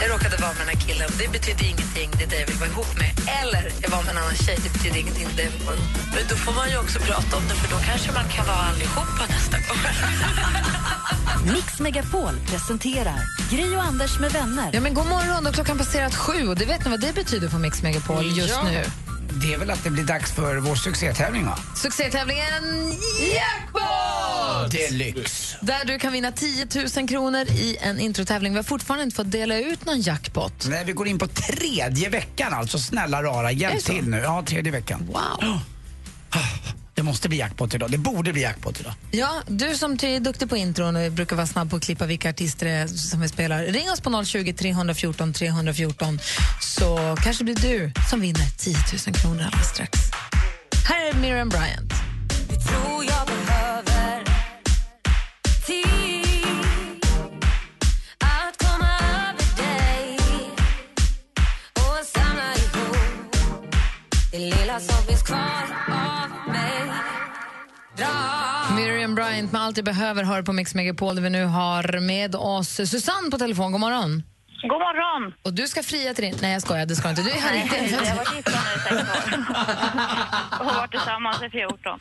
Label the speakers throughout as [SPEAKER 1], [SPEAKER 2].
[SPEAKER 1] Jag råkade vara med den här killen. Det betyder ingenting, det är det jag vill vara ihop med. Eller jag var med en annan tjej, det betyder ingenting, det är det jag vill vara ihop med. Men då får man ju också prata om det, för då kanske man kan vara allihopa nästa gång.
[SPEAKER 2] Mix Megapol presenterar Gri och Anders med vänner.
[SPEAKER 3] Ja, men god morgon, och klockan passerat sju och det vet ni vad det betyder på Mix Megapol just
[SPEAKER 4] Ja.
[SPEAKER 3] nu.
[SPEAKER 4] Det är väl att det blir dags för vår succétävling va?
[SPEAKER 3] Succétävlingen Jackpot!
[SPEAKER 4] Deluxe.
[SPEAKER 3] Där du kan vinna 10 000 kronor i en introtävling. Vi har fortfarande inte fått dela ut någon jackpot.
[SPEAKER 4] Nej, vi går in på tredje veckan alltså. Snälla rara,
[SPEAKER 3] Är det
[SPEAKER 4] hjälp
[SPEAKER 3] så?
[SPEAKER 4] till nu. Ja, tredje veckan.
[SPEAKER 3] Wow!
[SPEAKER 4] Det måste bli jackpot idag. Det borde bli jackpot idag.
[SPEAKER 3] Ja, du som ty är duktig på intron och brukar vara snabb på att klippa vilka artister det är som vi spelar. Ring oss på 020 314 314 så kanske det blir du som vinner 10 000 kronor alldeles strax. Här är Miriam Bryant. Miriam Bryant med Allt jag behöver hör på Mix Megapol där vi nu har med oss Susanne på telefon. God morgon.
[SPEAKER 5] God morgon!
[SPEAKER 3] Och du ska fria till din... Nej, jag skojar. Det ska du inte. Du är här
[SPEAKER 5] Nej,
[SPEAKER 3] inte.
[SPEAKER 5] jag har varit gifta nu i sex år och har varit tillsammans i 14.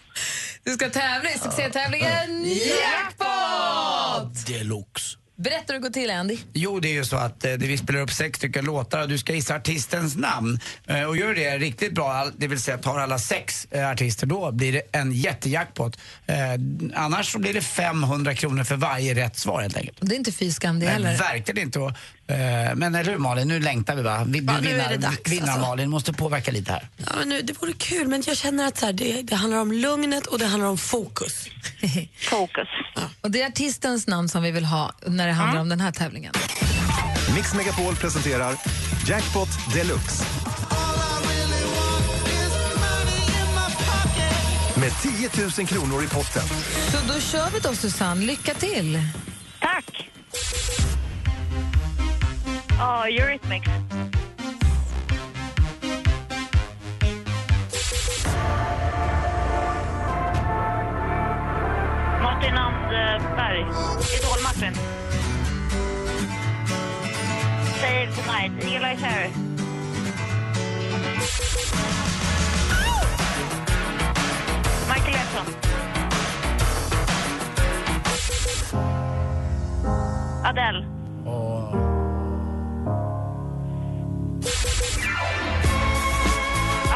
[SPEAKER 3] Du ska tävla i succétävlingen Jackpot!
[SPEAKER 4] Deluxe.
[SPEAKER 3] Berätta hur det går till, Andy.
[SPEAKER 4] Jo, det är ju så att eh, det- vi spelar upp sex stycken låtar och du ska gissa artistens namn. Eh, och gör du det riktigt bra, all- det vill säga tar alla sex eh, artister, då blir det en jättejackpot. Eh, annars så blir det 500 kronor för varje rätt svar helt enkelt.
[SPEAKER 3] Det är inte fy skam det
[SPEAKER 4] Nej,
[SPEAKER 3] heller.
[SPEAKER 4] verkligen inte. Och, eh, men eller hur Malin, nu längtar vi va? Vi,
[SPEAKER 6] Ja,
[SPEAKER 4] du
[SPEAKER 6] nu är
[SPEAKER 4] vinnar,
[SPEAKER 6] det dags,
[SPEAKER 4] vinnar
[SPEAKER 6] alltså.
[SPEAKER 4] Malin, måste påverka lite här.
[SPEAKER 6] Ja, men nu, det vore kul, men jag känner att så här, det, det handlar om lugnet och det handlar om fokus.
[SPEAKER 5] Fokus.
[SPEAKER 3] Och det är artistens namn som vi vill ha när det handlar om den här tävlingen.
[SPEAKER 7] Mix Megapol presenterar Jackpot Deluxe. Med 10 000 kronor i potten.
[SPEAKER 3] Så då kör vi då, Susanne. Lycka till!
[SPEAKER 5] Tack! Ja, Eurythmics. Martin Anderberg. Idol-Martin. Save the night. Eli Cherry. Michael Jackson. Adele.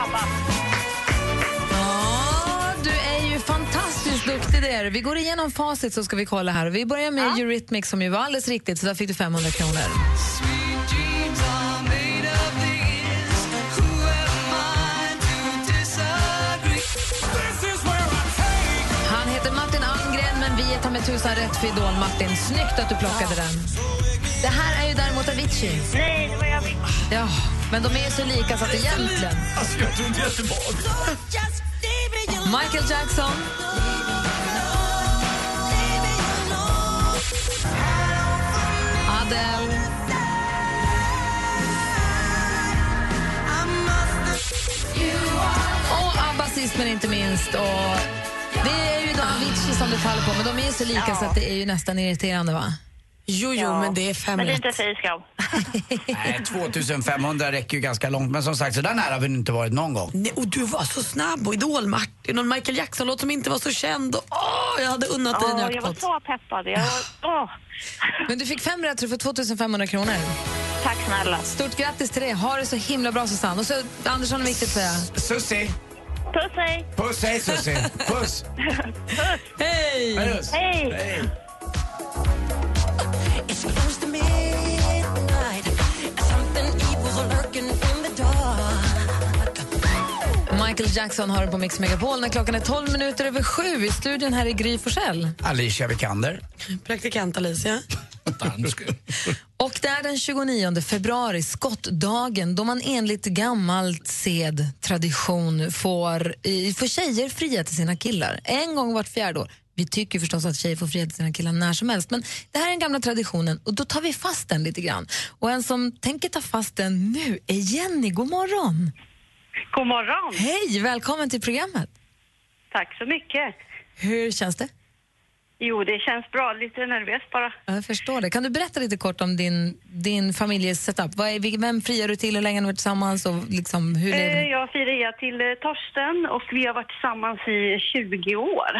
[SPEAKER 5] Abba.
[SPEAKER 3] Ja, du är ju fantastiskt duktig det är du. Vi går igenom facit så ska vi kolla här. Och Vi börjar med Eurythmics som ju var alldeles riktigt, så där fick du 500 kronor. Han heter Martin Almgren, men vi tar med tusan rätt för Idol-Martin. Snyggt att du plockade den. Det här är ju däremot Avicii.
[SPEAKER 5] Nej, det var jag
[SPEAKER 3] Ja, men de är ju så lika så att egentligen...
[SPEAKER 4] Alltså jag trodde jag inte
[SPEAKER 3] Michael Jackson. Adele. Och ABBA sist men inte minst. Och det är ju då Avicii som det faller på, men de är ju så lika så att det är ju nästan irriterande. va?
[SPEAKER 6] Jo, jo, men det är fem
[SPEAKER 5] Men det är
[SPEAKER 6] rätt.
[SPEAKER 5] inte fiskam.
[SPEAKER 4] Nej, 2500 räcker ju ganska långt. Men som sagt, så där nära har vi inte varit någon gång.
[SPEAKER 6] Nej, och du var så snabb och Idol-Martin och en Michael Jackson-låt som inte var så känd. Och, åh, jag hade unnat dig en
[SPEAKER 5] Oh, jag var
[SPEAKER 6] jackpot.
[SPEAKER 5] så peppad. Jag var, åh.
[SPEAKER 3] Men du fick fem rätt så du får 2500 kronor.
[SPEAKER 5] Tack snälla.
[SPEAKER 3] Stort grattis till det. Ha det så himla bra, Susanne. Och så, Andersson är viktigt att säga.
[SPEAKER 4] Sussi!
[SPEAKER 5] Puss hej.
[SPEAKER 4] Puss, hej Sussi! Puss!
[SPEAKER 6] Hej!
[SPEAKER 4] Puss!
[SPEAKER 5] Hej.
[SPEAKER 3] Michael Jackson har du på Mix Megapol när klockan är 12 minuter över sju. I studion här är Gry Forssell.
[SPEAKER 4] Alicia Vikander.
[SPEAKER 6] Praktikant Alicia.
[SPEAKER 3] Och det är den 29 februari, skottdagen, då man enligt gammalt sed, tradition, får, eh, får tjejer fria till sina killar. En gång vart fjärde år. Vi tycker förstås att tjejer får fria till sina killar när som helst, men det här är den gamla traditionen och då tar vi fast den lite grann. Och en som tänker ta fast den nu är Jenny. God morgon!
[SPEAKER 5] God morgon!
[SPEAKER 3] Hej, välkommen till programmet.
[SPEAKER 5] Tack så mycket.
[SPEAKER 3] Hur känns det?
[SPEAKER 5] Jo, det känns bra. Lite nervöst bara.
[SPEAKER 3] Ja, Jag förstår det. Kan du berätta lite kort om din, din familjesetup? Vad är, vil- vem friar du till? Hur länge har ni varit tillsammans? Och liksom, hur lever
[SPEAKER 5] Eh,
[SPEAKER 3] ni?
[SPEAKER 5] Jag firar er till eh, Torsten och vi har varit tillsammans i 20 år.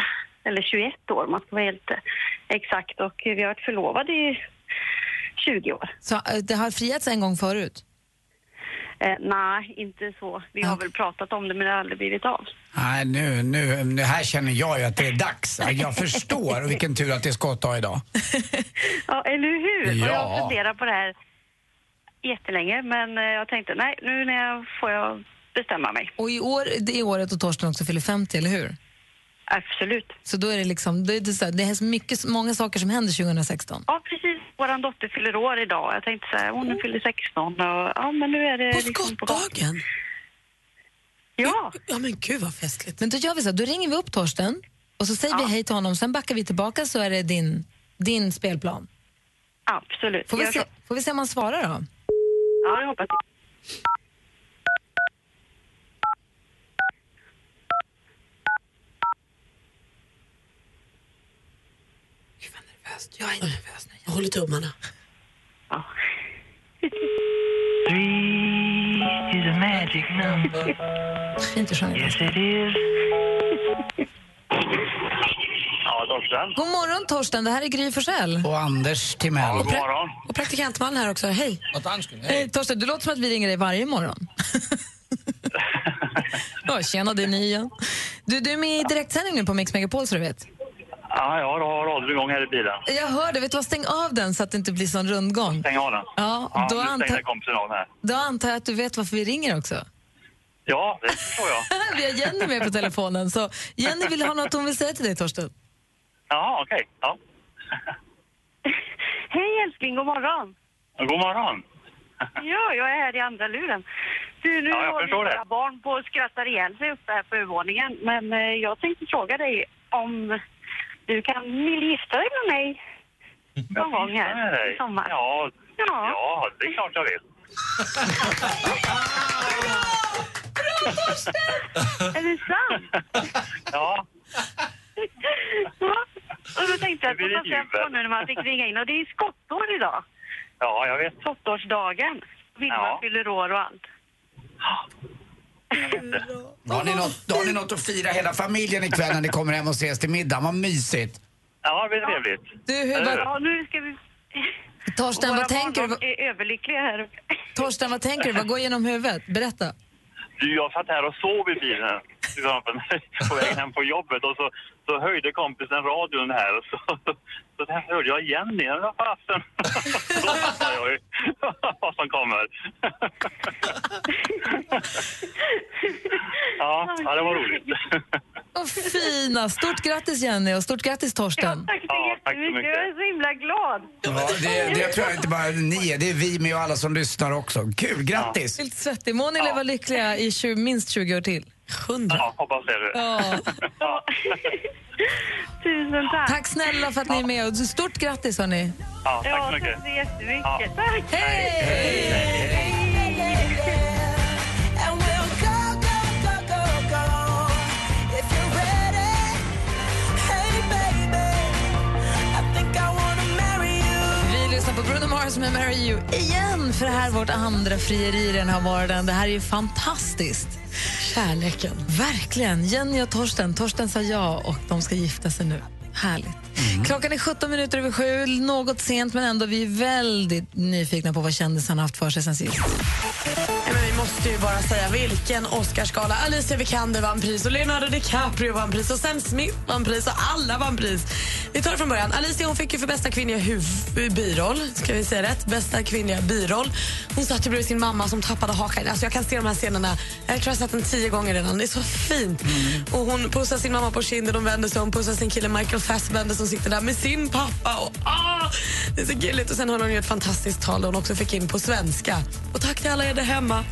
[SPEAKER 5] Eller 21 år, man ska vara helt eh, exakt. Och eh, vi har varit förlovade i 20 år.
[SPEAKER 3] Så, eh, det har friats en gång förut?
[SPEAKER 5] Eh, nej, inte så. Vi har väl pratat om det men det har aldrig blivit av.
[SPEAKER 4] Nej, nu, nu, nu här känner jag ju att det är dags. Jag förstår, och vilken tur att det är skottdag idag.
[SPEAKER 5] Ja, eller hur? Och jag
[SPEAKER 4] Ja.
[SPEAKER 5] har funderat på det här jättelänge men eh, jag tänkte nej, nu när jag får jag bestämma mig.
[SPEAKER 3] Och i år, det är året då Torsten också fyller 50, eller hur?
[SPEAKER 5] Absolut.
[SPEAKER 3] Så då är det liksom, då är det, så här, det är så mycket, många saker som händer 2016.
[SPEAKER 5] Ja, precis. Vår dotter fyller år idag. Jag tänkte så här, hon fyller 16 och ja, men nu är det
[SPEAKER 6] På
[SPEAKER 5] liksom på
[SPEAKER 6] skottdagen?
[SPEAKER 5] Ja.
[SPEAKER 6] Ja men gud vad festligt.
[SPEAKER 3] Men då gör vi så här, då ringer vi upp Torsten och så säger
[SPEAKER 5] Ja.
[SPEAKER 3] vi hej till honom, sen backar vi tillbaka så är det din, din spelplan.
[SPEAKER 5] Absolut.
[SPEAKER 3] Får vi,
[SPEAKER 5] Gör
[SPEAKER 3] se,
[SPEAKER 5] så.
[SPEAKER 3] får vi se om han svarar då?
[SPEAKER 5] Ja, jag hoppas det.
[SPEAKER 6] Jag är nervös nu. Jag håller tummarna.
[SPEAKER 5] Ja.
[SPEAKER 3] Fint att sjunga.
[SPEAKER 8] Ja, Torsten.
[SPEAKER 3] God morgon Torsten, det här är Gry Forssell.
[SPEAKER 4] Och Anders Timell.
[SPEAKER 8] God morgon.
[SPEAKER 6] Och praktikantman här också. Hej.
[SPEAKER 3] Hej, Torsten, du låter som att vi ringer dig varje morgon. ja, tjena, det är ni igen. Du, du är med i direktsändning nu på Mix Megapol så du vet.
[SPEAKER 8] Ja, jag har radion igång här i bilen.
[SPEAKER 3] Jag hör det, vet du vad? Stäng av den så att det inte blir sån rundgång.
[SPEAKER 8] Stäng av den.
[SPEAKER 3] Ja,
[SPEAKER 8] ja
[SPEAKER 3] då,
[SPEAKER 8] nu stängde
[SPEAKER 3] anta,
[SPEAKER 8] kompisen av den här.
[SPEAKER 3] då antar jag att du vet varför vi ringer också.
[SPEAKER 8] Ja, det förstår jag.
[SPEAKER 3] vi har Jenny med på telefonen, så Jenny vill ha något hon vill säga till dig Torsten.
[SPEAKER 8] Ja, okej. Ja.
[SPEAKER 5] Hej älskling, god morgon.
[SPEAKER 8] God morgon.
[SPEAKER 5] Ja, jag är här i andra luren. Du, nu
[SPEAKER 8] Ja, jag
[SPEAKER 5] håller
[SPEAKER 8] förstår det.
[SPEAKER 5] våra barn på och skrattar ihjäl sig uppe här på övervåningen. Men eh, jag tänkte fråga dig om du kan vill gifta dig med mig någon gång
[SPEAKER 8] Hej,
[SPEAKER 5] här
[SPEAKER 8] hej.
[SPEAKER 5] i sommar.
[SPEAKER 8] Ja,
[SPEAKER 5] Ja.
[SPEAKER 8] ja, det är klart jag vill.
[SPEAKER 5] Är det sant?
[SPEAKER 8] Ja,
[SPEAKER 5] Ja. Och då tänkte jag att
[SPEAKER 8] Det blir
[SPEAKER 5] jag
[SPEAKER 8] ett
[SPEAKER 5] skulle ta
[SPEAKER 8] jubel.
[SPEAKER 5] på nu när man fick ringa in. Och det är ju skottår idag.
[SPEAKER 8] ja jag vet.
[SPEAKER 5] Skottårsdagen. Vilma
[SPEAKER 8] Ja.
[SPEAKER 5] fyller år och allt.
[SPEAKER 4] Då har, ni något, då har ni något att fira hela familjen ikväll när ni kommer hem och ses till middag. Vad mysigt.
[SPEAKER 8] Ja, det blir trevligt.
[SPEAKER 3] Du, hur,
[SPEAKER 6] Eh.
[SPEAKER 3] vad,
[SPEAKER 5] Ja, nu ska vi...
[SPEAKER 3] Torsten,
[SPEAKER 5] Våra
[SPEAKER 3] vad tänker, du,
[SPEAKER 5] barn
[SPEAKER 3] vad,
[SPEAKER 5] de är överlyckliga här uppe.
[SPEAKER 3] Torsten, vad tänker du? Vad går genom huvudet? Berätta.
[SPEAKER 8] Du, jag satt här och sov i bilen till exempel, på vägen hem på jobbet och så, så höjde kompisen radion här och så, så där hörde jag Jenny. Jag bara, fasen! Då fattar jag ju vad som kommer. Ja, ja, det var roligt.
[SPEAKER 3] Vad fina! Stort grattis Jenny och stort grattis Torsten.
[SPEAKER 5] Tack så
[SPEAKER 8] Ja, tack så
[SPEAKER 5] jättemycket.
[SPEAKER 8] mycket.
[SPEAKER 5] Jag är så himla glad.
[SPEAKER 4] Ja, det, det tror jag inte bara ni är, det är vi med och alla som lyssnar också. Kul, grattis!
[SPEAKER 3] Helt svettig. Må ni leva lyckliga i tju- minst 20 år till.
[SPEAKER 6] Hundra.
[SPEAKER 8] Ja, hoppas det. du.
[SPEAKER 3] Ja.
[SPEAKER 8] Ja,
[SPEAKER 5] Tusen tack.
[SPEAKER 3] Tack snälla för att ni är med. Och stort grattis, hörni.
[SPEAKER 8] ja, tack
[SPEAKER 5] Ja,
[SPEAKER 8] så mycket.
[SPEAKER 5] tack så jättemycket.
[SPEAKER 8] Ja.
[SPEAKER 5] Tack.
[SPEAKER 3] Vi lyssnar på Bruno Mars med Marry You igen, för det här är vårt andra frieri i den här vardagen. Det här är ju fantastiskt. Kärleken. Verkligen. Jenny och Torsten. Torsten sa ja och de ska gifta sig nu. Härligt. Klockan är 17 minuter över sju, något sent men ändå. Vi är väldigt nyfikna på vad kändisarna haft för sig sen sist.
[SPEAKER 6] Nej, men vi måste ju bara säga vilken Oscarsgala. Alicia Vikander vann pris och Leonardo DiCaprio vann pris och Sam Smith vann pris och alla vann pris. Vi tar det från början. Alicia hon fick ju för bästa kvinnliga huv- eh, biroll, ska vi säga rätt? Bästa kvinnliga biroll. Hon satt ju bredvid sin mamma som tappade hakan. Alltså jag kan se de här scenerna. Jag tror jag har sett den tio gånger redan. Det är så fint. Och hon pussar sin mamma på kinden, de vänder sig om, pussar sin kille Michael Fassbender som sitter där med sin pappa. Och, ah! Det är så gulligt. Och sen har hon ju ett fantastiskt tal hon också fick in på svenska. Och tack till alla er där hemma.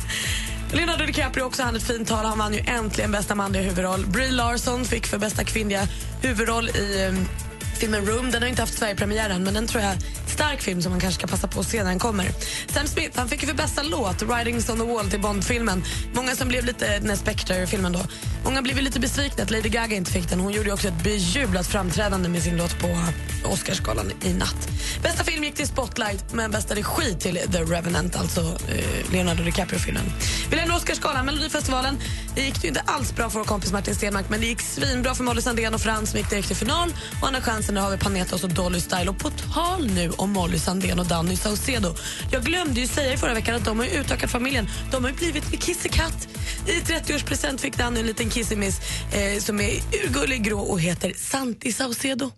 [SPEAKER 6] Leonardo DiCaprio också han ett fint tal. Han vann ju äntligen bästa manliga huvudroll. Brie Larson fick för bästa kvinnliga huvudroll i um, filmen Room. Den har ju inte haft Sverigepremiär än, men den tror jag är en stark film som man kanske ska passa på att se när den kommer. Sam Smith han fick ju för bästa låt, Writings on the wall, till Bond-filmen. Många som blev lite, den här Spectre-filmen då. Många blev ju lite besvikna att Lady Gaga inte fick den. Hon gjorde ju också ett bejublat framträdande med sin låt på Oscarsgalan i natt. Bästa film gick till Spotlight, men bästa regi till The Revenant, alltså eh, Leonardo DiCaprio-filmen. Vi lämnar Oscarsgalan, Melodifestivalen. Det gick ju inte alls bra för vår kompis Martin Stenmark, men det gick svinbra för Molly Sandén och Frans som gick direkt till final. Och andra chansen där har vi Panetos och Dolly Style. Och på tal nu om Molly Sandén och Danny Saucedo. Jag glömde ju säga i förra veckan att de har ju utökat familjen. De har ju blivit med kissekatt. I 30-årspresent fick Danny en liten kissemiss eh, som är urgullig grå och heter Santi Saucedo.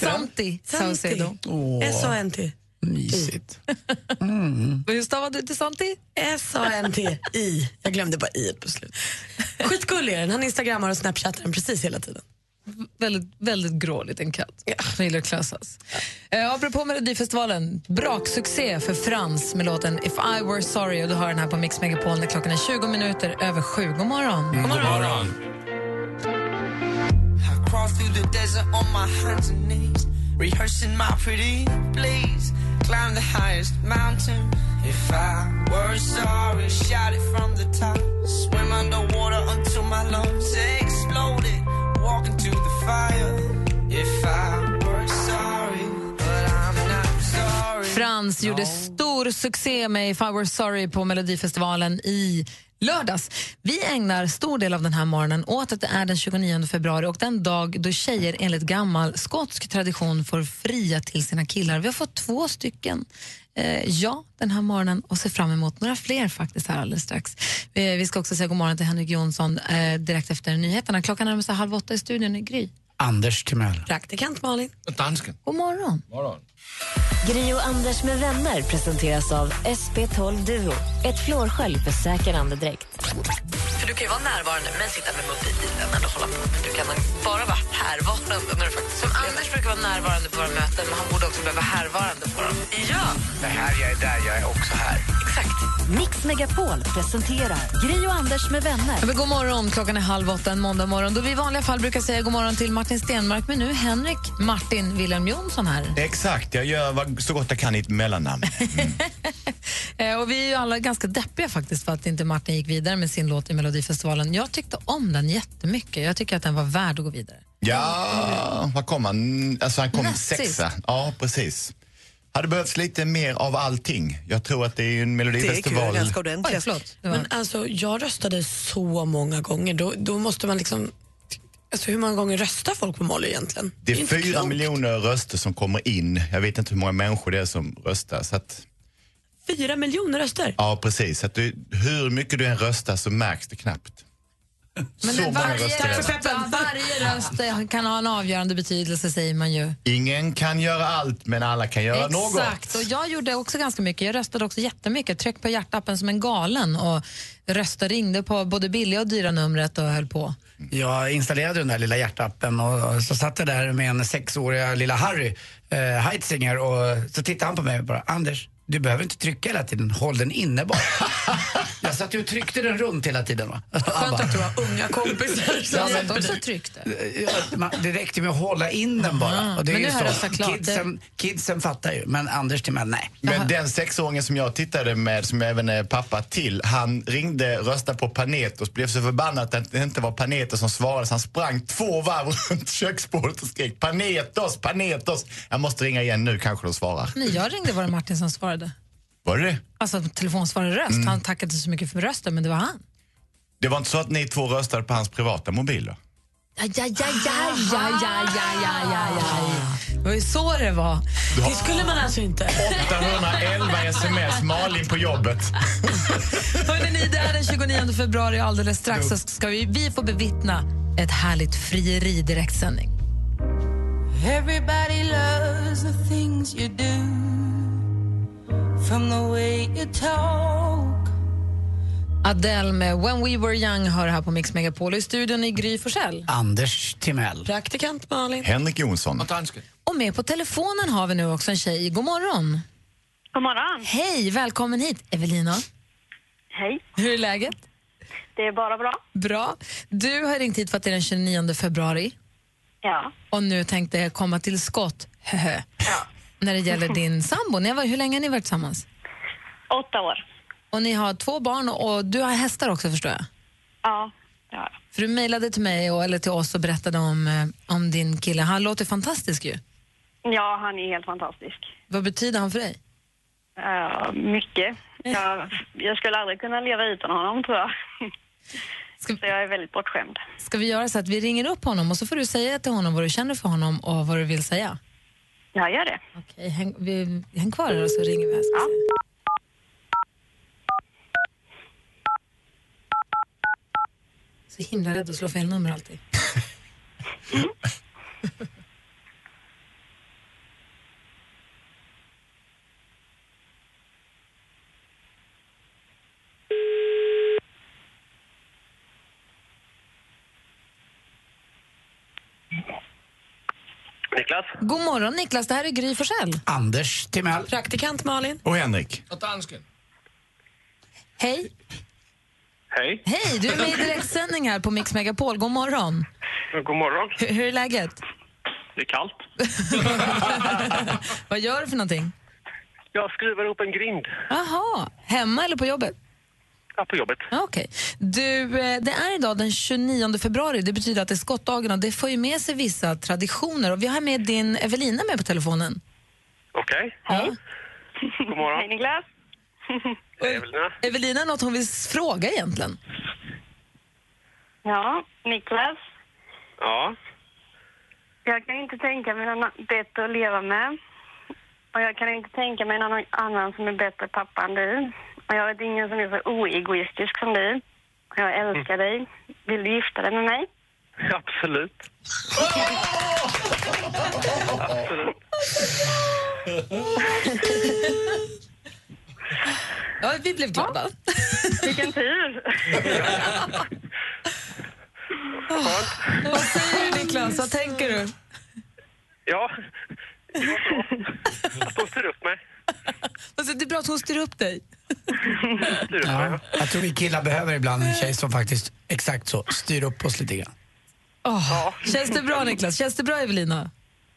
[SPEAKER 3] Santi Saucedo.
[SPEAKER 6] S-A-N-T.
[SPEAKER 4] Mysigt.
[SPEAKER 3] Hur stavade du till Santi?
[SPEAKER 6] S-A-N-T-I. Jag glömde bara i på slutet. Skitgullig är den. Han instagrammar och snapchattar den precis hela tiden.
[SPEAKER 3] Väldigt, väldigt grå liten katt. Som gillar att klösas. Eh, apropå Melodifestivalen, braksuccé för Frans med låten If I Were Sorry. Och du hör den här på Mix Megapol när klockan är 20 minuter över sju. God morgon. God morgon.
[SPEAKER 9] crawl through the desert on my hands and knees, rehearsing my pretty please. Climb the highest mountain. If I were sorry, shout it from the top. Swim underwater until my lungs exploded. Walk into the fire. If I were sorry, but I'm not sorry.
[SPEAKER 3] Frans gjorde stor succé med If I Were Sorry på Melodifestivalen i lördags. Vi ägnar stor del av den här morgonen åt att det är den 29 februari och den dag då tjejer enligt gammal skotsk tradition får fria till sina killar. Vi har fått två stycken eh, ja den här morgonen och ser fram emot några fler faktiskt här alldeles strax. Eh, vi ska också säga god morgon till Henrik Jonsson eh, direkt efter nyheterna. Klockan närmar sig halv åtta i studion i Gry.
[SPEAKER 4] Anders Timell.
[SPEAKER 3] Praktikant Malin,
[SPEAKER 10] Dansken.
[SPEAKER 3] god morgon.
[SPEAKER 10] Morgon.
[SPEAKER 2] Gri och Anders med vänner presenteras av SP12 Duo. Ett flårskölj för säker andedräkt.
[SPEAKER 1] För du kan ju vara närvarande men sitta med mobilen eller hålla på. Men du kan bara vara härvarande när du faktiskt Som Anders brukar vara närvarande på våra möten men han borde också behöva härvarande på dem. Ja!
[SPEAKER 4] Det här, jag är där, jag är också här.
[SPEAKER 2] Mix Megapol presenterar Gri och Anders med vänner.
[SPEAKER 3] Ja, men god morgon, klockan är halv åtta en måndag morgon då vi i vanliga fall brukar säga god morgon till Martin Stenmark men nu Henrik Martin Wilhelm Jonsson här.
[SPEAKER 10] Exakt, jag gör vad- så gott jag kan i ett mellannamn.
[SPEAKER 3] Eh, och vi är ju alla ganska deppiga faktiskt för att inte Martin gick vidare med sin låt i Melodifestivalen. Jag tyckte om den jättemycket. Jag tycker att den var värd att gå vidare.
[SPEAKER 10] Ja, vad kom han? Alltså han kom
[SPEAKER 3] Näst sist.
[SPEAKER 10] sexa. Ja, precis. Hade behövts lite mer av allting. Jag tror att det är ju en melodifestival.
[SPEAKER 6] ordentligt.
[SPEAKER 3] äh,
[SPEAKER 6] Men alltså, jag röstade så många gånger. Då, då måste man liksom... Alltså, hur många gånger röstar folk på Molly egentligen?
[SPEAKER 10] Det är
[SPEAKER 6] inte
[SPEAKER 10] fyra
[SPEAKER 6] klokt.
[SPEAKER 10] miljoner röster som kommer in. Jag vet inte hur många människor det är som röstar. Så att,
[SPEAKER 6] Fyra miljoner röster?
[SPEAKER 10] ja, precis. Så att du, hur mycket du än röstar så märks det knappt.
[SPEAKER 3] Men
[SPEAKER 10] så
[SPEAKER 3] det-
[SPEAKER 10] många
[SPEAKER 3] varje,
[SPEAKER 10] röster är det.
[SPEAKER 3] röst, varje röst eh, kan ha en avgörande betydelse säger man ju.
[SPEAKER 10] Ingen kan göra allt, men alla kan göra något.
[SPEAKER 3] Exakt, och jag gjorde också ganska mycket. Jag röstade också jättemycket. Tryck på hjärtappen som en galen och röstade, ringde på både billiga och dyra numret och höll på.
[SPEAKER 4] Jag installerade den där lilla hjärtappen och så satt jag där med en sexåriga lilla Harry eh, Heitzinger och så tittade han på mig och bara Anders, du behöver inte trycka hela tiden, håll den inne bara. jag satt ju och tryckte den runt hela tiden. Va? Skönt
[SPEAKER 6] att du har unga kompisar som
[SPEAKER 4] Ja, men-
[SPEAKER 3] satt också och tryckte.
[SPEAKER 4] "Eh, Ja, man- Det räckte med att hålla in den bara.
[SPEAKER 3] Aha.
[SPEAKER 4] Och det är
[SPEAKER 3] Men
[SPEAKER 4] ju
[SPEAKER 3] nu har jag
[SPEAKER 4] så.
[SPEAKER 3] röstat klart.
[SPEAKER 4] Kidsen, kidsen fattar ju, men Anders till mig, nej.
[SPEAKER 10] Men den sexåringen som jag tittade med, som jag även är pappa till, han ringde rösta på Panetos, blev så förbannad att det inte var Panetos som svarade så han sprang två varv runt köksbordet och skrek Panetos, Panetos. Jag måste ringa igen nu, kanske de svarar.
[SPEAKER 3] När jag ringde var det Martin som svarade.
[SPEAKER 10] Var det det?
[SPEAKER 3] Alltså telefonsvararröst.
[SPEAKER 10] Mm.
[SPEAKER 3] Han tackade inte så mycket för rösten, men det var han.
[SPEAKER 10] Det var inte så att ni två röstade på hans privata mobiler?
[SPEAKER 3] Ja, ja, ja, ja, ja, ja, ja, ja, ja, ja. Det var ju så det var.
[SPEAKER 10] Du har-
[SPEAKER 6] Det skulle man alltså inte.
[SPEAKER 10] 811 sms, Malin på jobbet.
[SPEAKER 3] Hörrni, ni, det är den 29 februari och alldeles strax så ska vi, vi få bevittna ett härligt frieri i direktsändning.
[SPEAKER 9] Everybody loves the things you do From the way you talk
[SPEAKER 3] Adele med When We Were Young hör här på Mix Megapol. I studion i Gry Forssell.
[SPEAKER 4] Anders Timell.
[SPEAKER 3] Praktikant Malin.
[SPEAKER 10] Henrik Jonsson.
[SPEAKER 3] Och med på telefonen har vi nu också en tjej. God morgon.
[SPEAKER 5] God morgon.
[SPEAKER 3] Hej, välkommen hit Evelina.
[SPEAKER 5] Hej.
[SPEAKER 3] Hur är läget?
[SPEAKER 5] Det är bara bra.
[SPEAKER 3] Bra. Du har ringt hit för att det är den 29 februari
[SPEAKER 5] Ja.
[SPEAKER 3] och nu tänkte jag komma till skott. Höhö. När det gäller din sambo. Ni var, hur länge har ni varit tillsammans?
[SPEAKER 5] Åtta år.
[SPEAKER 3] Och ni har två barn och, och du har hästar också förstår jag?
[SPEAKER 5] Ja. ja.
[SPEAKER 3] För du mejlade till mig och, eller till oss och berättade om, eh, om din kille. Han låter fantastisk ju.
[SPEAKER 5] Ja, han är helt fantastisk.
[SPEAKER 3] Vad betyder han för dig?
[SPEAKER 5] Ja, mycket. Jag, jag skulle aldrig kunna leva utan honom, tror jag. Så jag är väldigt bortskämd.
[SPEAKER 3] Ska vi göra så att vi ringer upp honom och så får du säga till honom vad du känner för honom och vad du vill säga?
[SPEAKER 5] Jag gör det.
[SPEAKER 3] Okej, häng, vi, häng kvar här och så ringer vi. här, ska vi se. Så himla rädd att slå fel nummer alltid.
[SPEAKER 8] Niklas?
[SPEAKER 3] God morgon Niklas, det här är Gry Forssell.
[SPEAKER 4] Anders Timell.
[SPEAKER 3] Praktikant Malin.
[SPEAKER 10] Och Henrik.
[SPEAKER 11] Och dansken.
[SPEAKER 3] Hej.
[SPEAKER 11] Hej.
[SPEAKER 3] Hej, du är med i direktsändning här på Mix Megapol. God morgon.
[SPEAKER 11] God morgon.
[SPEAKER 3] Hur, hur är läget?
[SPEAKER 11] Det är kallt.
[SPEAKER 3] Vad gör du för någonting?
[SPEAKER 11] Jag skruvar ihop en grind
[SPEAKER 3] Aha, hemma eller på jobbet?
[SPEAKER 11] här på jobbet.
[SPEAKER 3] Ja, Ah, Okej. Du, eh, det är idag den 29 februari. Det betyder att det är skottdagen och det för ju med sig vissa traditioner. Och vi har med din Evelina med på telefonen.
[SPEAKER 11] Okej.
[SPEAKER 3] Ja.
[SPEAKER 11] God morgon.
[SPEAKER 5] Hej, Niklas.
[SPEAKER 11] Hej, Evelina.
[SPEAKER 3] Evelina, något hon vill s- fråga egentligen?
[SPEAKER 5] Ja, Niklas.
[SPEAKER 11] Ja.
[SPEAKER 5] Jag kan inte tänka mig någon annan bättre att leva med. Och jag kan inte tänka mig någon annan som är bättre pappa än du. Och jag vet ingen som är så oegoistisk som du. Och jag älskar dig. Vill du gifta dig med mig?
[SPEAKER 11] Absolut. Absolut.
[SPEAKER 3] Ja, vi blev glada.
[SPEAKER 5] Vilken tur!
[SPEAKER 3] Vad säger du "Äh, Niklas? Vad tänker du?
[SPEAKER 11] Ja. Det var bra. Att de styr upp mig.
[SPEAKER 3] Alltså, det är bra att hon styr upp dig.
[SPEAKER 11] Styr upp mig.
[SPEAKER 4] Ja, jag tror vi killar behöver ibland en tjej som faktiskt exakt så styr upp oss lite grann.
[SPEAKER 3] Åh, Känns det bra Niklas? Känns det bra Evelina?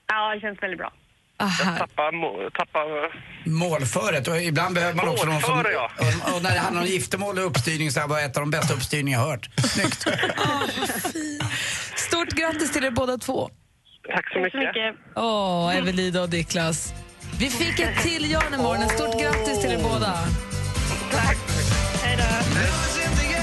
[SPEAKER 5] Ja, det känns väldigt bra.
[SPEAKER 3] Ah,
[SPEAKER 11] Jag
[SPEAKER 3] här.
[SPEAKER 11] tappar... må- tappar
[SPEAKER 4] Målföret, och ibland behöver man också någon som...
[SPEAKER 11] Målföre, ja.
[SPEAKER 4] Och- Och när det handlar om giftermål och uppstyrning så här var ett av de bästa uppstyrningar jag hört. Snyggt.
[SPEAKER 3] Stort grattis till er båda två.
[SPEAKER 11] Tack så mycket.
[SPEAKER 3] Åh, Evelina och Niklas. Vi fick ett till Jan i morgon. Stort grattis till er båda.
[SPEAKER 5] Hej då!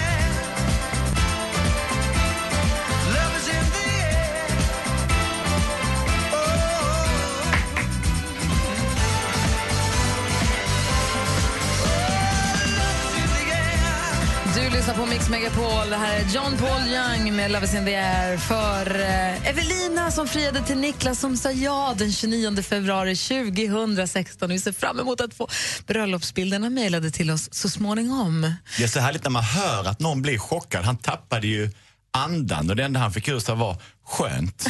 [SPEAKER 3] Du lyssnar på Mix Megapol. Det här är John Paul Young med Love is in the air för eh, Evelina som friade till Niklas som sa ja den 29 februari 2016. Vi ser fram emot att få bröllopsbilderna mejlade till oss så småningom.
[SPEAKER 10] Det är så härligt när man hör att någon blir chockad. Han tappade ju andan och det enda han fick ur sig var skönt.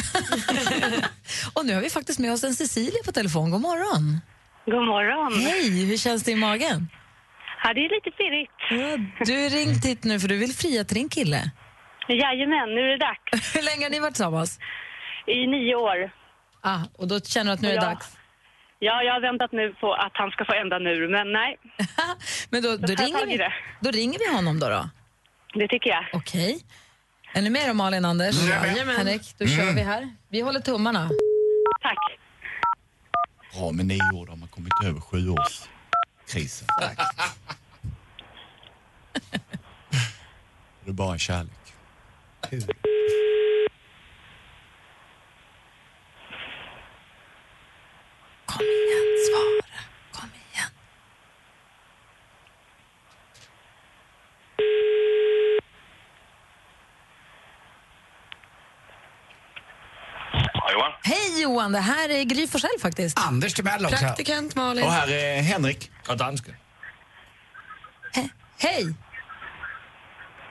[SPEAKER 3] Och nu har vi faktiskt med oss en Cecilia på telefon. God morgon.
[SPEAKER 12] God morgon.
[SPEAKER 3] Hej, hur känns det i magen?
[SPEAKER 12] Ja, det är lite pirrigt.
[SPEAKER 3] Du är ringt hit nu för du vill fria till din kille.
[SPEAKER 12] Jajamän, nu är det dags.
[SPEAKER 3] Hur länge har ni varit tillsammans?
[SPEAKER 12] I nio år.
[SPEAKER 3] Ah, och då känner du att nu är det
[SPEAKER 12] Ja.
[SPEAKER 3] dags?
[SPEAKER 12] Ja, jag har väntat nu på att han ska få ända nu, men nej.
[SPEAKER 3] Men då,
[SPEAKER 12] tar
[SPEAKER 3] då,
[SPEAKER 12] jag
[SPEAKER 3] ringer
[SPEAKER 12] tag i
[SPEAKER 3] vi,
[SPEAKER 12] det.
[SPEAKER 3] då ringer vi honom då. då.
[SPEAKER 12] Det tycker jag.
[SPEAKER 3] Okej. Är ni med då, Malin, Anders?
[SPEAKER 12] Jajamän.
[SPEAKER 3] Henrik, då kör vi här. Vi håller tummarna.
[SPEAKER 12] Tack.
[SPEAKER 10] Bra, med nio år har man kommit över sjuårskrisen. Tack. Det är bara kärlek.
[SPEAKER 3] Kom igen, svara. Kom igen.
[SPEAKER 8] Ja, Johan.
[SPEAKER 3] Hej Johan, det här är Gry Forssell faktiskt.
[SPEAKER 4] Anders Timell
[SPEAKER 10] också.
[SPEAKER 3] Praktikant Malin.
[SPEAKER 10] Och här är Henrik.
[SPEAKER 11] Och dansken.
[SPEAKER 3] Hej!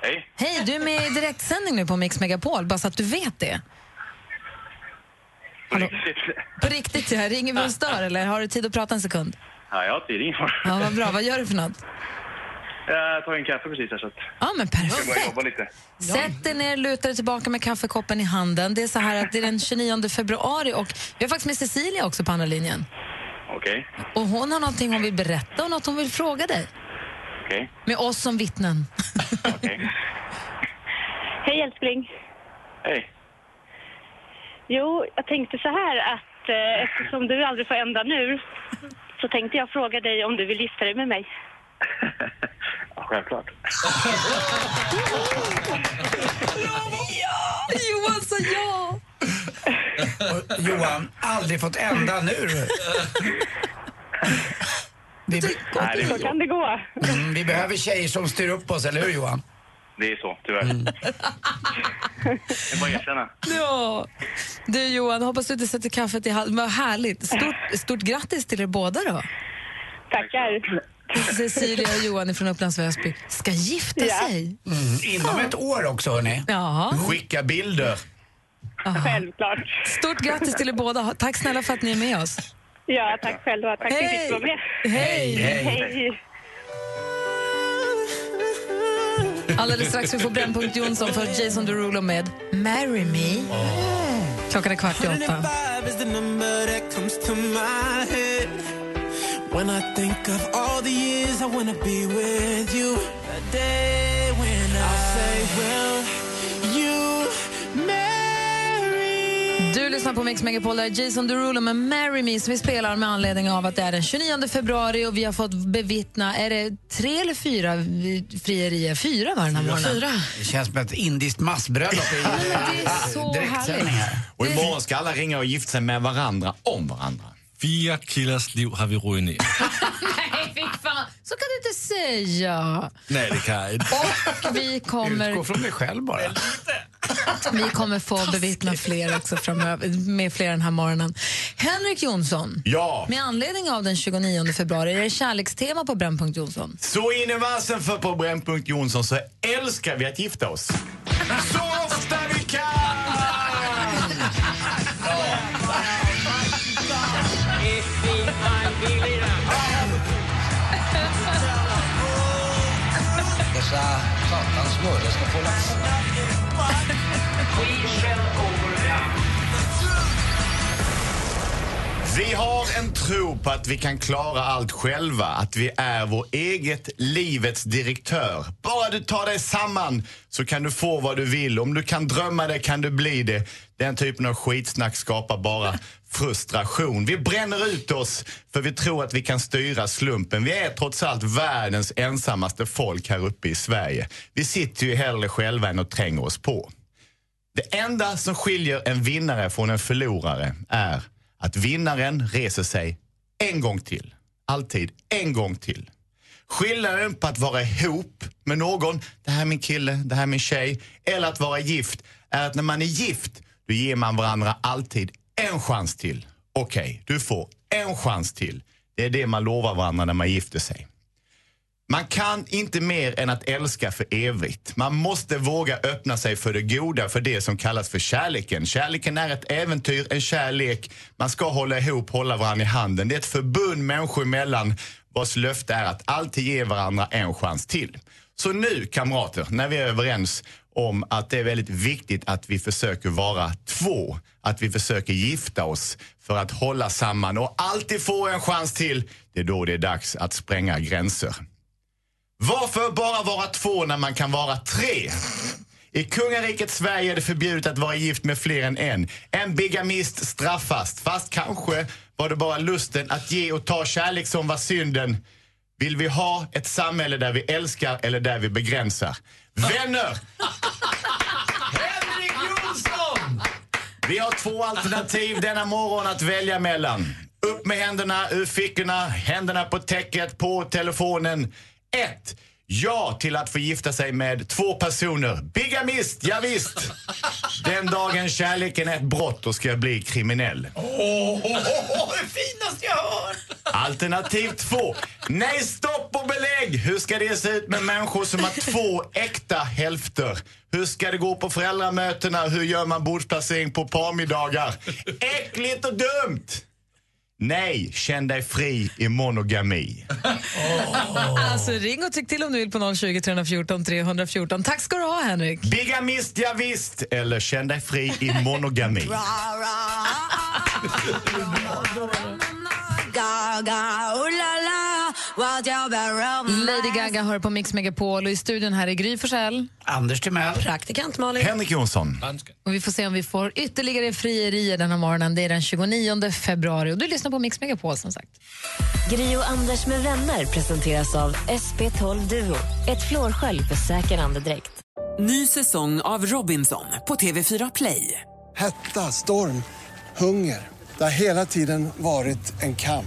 [SPEAKER 8] Hej.
[SPEAKER 3] Hej, du är med i direktsändning nu på Mix Megapol, bara så att du vet det. På riktigt, jag ringer vi och stör eller har du tid att prata en sekund?
[SPEAKER 8] Ja, jag har tid. Ingen fara.
[SPEAKER 3] Ja, vad bra. Vad gör du för något?
[SPEAKER 8] Jag tar en kaffe precis här så att...
[SPEAKER 3] Ja, men
[SPEAKER 8] Jag ska bara
[SPEAKER 3] perfekt.
[SPEAKER 8] jobba lite.
[SPEAKER 3] Sätt dig ner, luta dig tillbaka med kaffekoppen i handen. Det är så här att det är den 29 februari och vi har faktiskt med Cecilia också på andra linjen.
[SPEAKER 8] Okej,
[SPEAKER 3] Och hon har någonting hon vill berätta och något hon vill fråga dig.
[SPEAKER 8] okej,
[SPEAKER 3] Med oss som vittnen.
[SPEAKER 8] okej.
[SPEAKER 12] Hej älskling.
[SPEAKER 8] Hej.
[SPEAKER 12] Jo, jag tänkte så här att eh, eftersom du aldrig får ända nu så tänkte jag fråga dig om du vill gifta dig med mig.
[SPEAKER 8] Ja, självklart.
[SPEAKER 3] Ja! Johan sa ja!
[SPEAKER 4] Och Johan, aldrig fått ända nu. Vi,
[SPEAKER 8] Nej, det är så kan
[SPEAKER 12] det gå.
[SPEAKER 4] Mm, vi behöver tjejer som styr upp oss, eller hur Johan?
[SPEAKER 8] Det är så, tyvärr. Jag bara erkänna.
[SPEAKER 3] Ja. Du Johan, hoppas du inte sätter kaffet i halsen. Vad härligt. Stort, stort grattis till er båda då.
[SPEAKER 12] Tackar.
[SPEAKER 3] Cecilia och Johan från Upplands Väsby ska gifta
[SPEAKER 12] Ja.
[SPEAKER 3] sig.
[SPEAKER 4] Mm, Inom ett år också, hörni.
[SPEAKER 3] Ja.
[SPEAKER 10] Skicka bilder.
[SPEAKER 12] Självklart.
[SPEAKER 3] Stort grattis till er båda. Tack snälla för att ni är med oss.
[SPEAKER 12] Ja, tack själva. Tack för att jag fick vara med.
[SPEAKER 3] Hej!
[SPEAKER 12] Hej.
[SPEAKER 3] Alldeles strax vi får Brännpunkt Jonsson för Jason Derulo med Marry Me. Klockan är kvart i åtta.
[SPEAKER 9] is the number that comes to my head when I think of all the years I wanna be with you. A day when I say, Will you marry
[SPEAKER 3] Du lyssnar på Mix Megapol, där Jason Derulo med Marry Me som vi spelar med anledning av att det är den 29 februari och vi har fått bevittna, är det tre eller fyra frierier? Fyra var det den här morgonen.
[SPEAKER 4] Det känns som ett indiskt massbröllop. i-
[SPEAKER 3] Det är så
[SPEAKER 4] Direktsändningar.
[SPEAKER 3] härligt.
[SPEAKER 10] Och imorgon ska alla ringa och gifta sig med varandra, om varandra.
[SPEAKER 13] Fyra killers liv har vi ruinerat.
[SPEAKER 3] Nej, fy fan. Så kan du inte säga.
[SPEAKER 13] Nej, det kan jag inte.
[SPEAKER 3] Och vi kommer,
[SPEAKER 4] Utgå från dig själv bara.
[SPEAKER 3] vi kommer få bevittna fler också framöver, med fler den här morgonen. Henrik Jonsson,
[SPEAKER 10] Ja.
[SPEAKER 3] med anledning av den 29 februari, är det kärlekstema på Brännpunkt Jonsson?
[SPEAKER 10] Så in i vassen för på Brännpunkt Jonsson så älskar vi att gifta oss. Så ofta vi kan!
[SPEAKER 14] Dessa satans smörjor ska få lasta.
[SPEAKER 10] Vi har en tro på att vi kan klara allt själva, att vi är vår eget livets direktör. Bara du tar dig samman så kan du få vad du vill. Om du kan drömma det kan du bli det. Den typen av skitsnack skapar bara frustration. Vi bränner ut oss för vi tror att vi kan styra slumpen. Vi är trots allt världens ensammaste folk här uppe i Sverige. Vi sitter ju hellre själva än att tränga oss på. Det enda som skiljer en vinnare från en förlorare är att vinnaren reser sig en gång till. Alltid en gång till. Skillnaden på att vara ihop med någon, det här är min kille, det här är min tjej, eller att vara gift, är att när man är gift, då ger man varandra alltid en chans till. Okej, du får en chans till. Det är det man lovar varandra när man gifter sig. Man kan inte mer än att älska för evigt. Man måste våga öppna sig för det goda, för det som kallas för kärleken. Kärleken är ett äventyr, en kärlek. Man ska hålla ihop, hålla varandra i handen. Det är ett förbund människor emellan vars löfte är att alltid ge varandra en chans till. Så nu, kamrater, när vi är överens om att det är väldigt viktigt att vi försöker vara två, att vi försöker gifta oss för att hålla samman och alltid få en chans till, det är då det är dags att spränga gränser. Varför bara vara två när man kan vara tre? I kungariket Sverige är det förbjudet att vara gift med fler än en. En bigamist straffas. Fast kanske var det bara lusten att ge och ta kärlek som var synden. Vill vi ha ett samhälle där vi älskar eller där vi begränsar? Vänner! Henrik Jonsson! Vi har två alternativ denna morgon att välja mellan. Upp med händerna ur fickorna, händerna på täcket, på telefonen. Ett, Ja till att få gifta sig med två personer. Bigamist, ja, visst. Den dagen kärleken är ett brott, då ska jag bli kriminell.
[SPEAKER 4] Åh, oh, det finaste jag har hört!
[SPEAKER 10] Alternativ två. Nej, stopp och belägg! Hur ska det se ut med människor som har två äkta hälfter? Hur ska det gå på föräldramötena? Hur gör man bordsplacering på parmiddagar? Äckligt och dumt! Nej, känn dig fri i monogami.
[SPEAKER 3] Alltså ring och tyck till om du vill på 020 314 314. Tack ska du ha Henrik.
[SPEAKER 10] Bigamist, ja visst! Eller känn dig fri i monogami.
[SPEAKER 3] Lady Gaga hör på Mix Megapol och i studion här är Gry Forssell.
[SPEAKER 4] Anders Timell.
[SPEAKER 3] Praktikant Malin.
[SPEAKER 10] Henrik Jonsson.
[SPEAKER 3] Och vi får se om vi får ytterligare frierier den här morgonen. Det är den 29 februari och du lyssnar på Mix Megapol som sagt.
[SPEAKER 6] Gri och Anders med vänner presenteras av SP12 Duo. Ett flårskölj för säker andedräkt.
[SPEAKER 9] Ny säsong av Robinson på TV4 Play.
[SPEAKER 15] Hetta, storm, hunger. Det har hela tiden varit en kamp.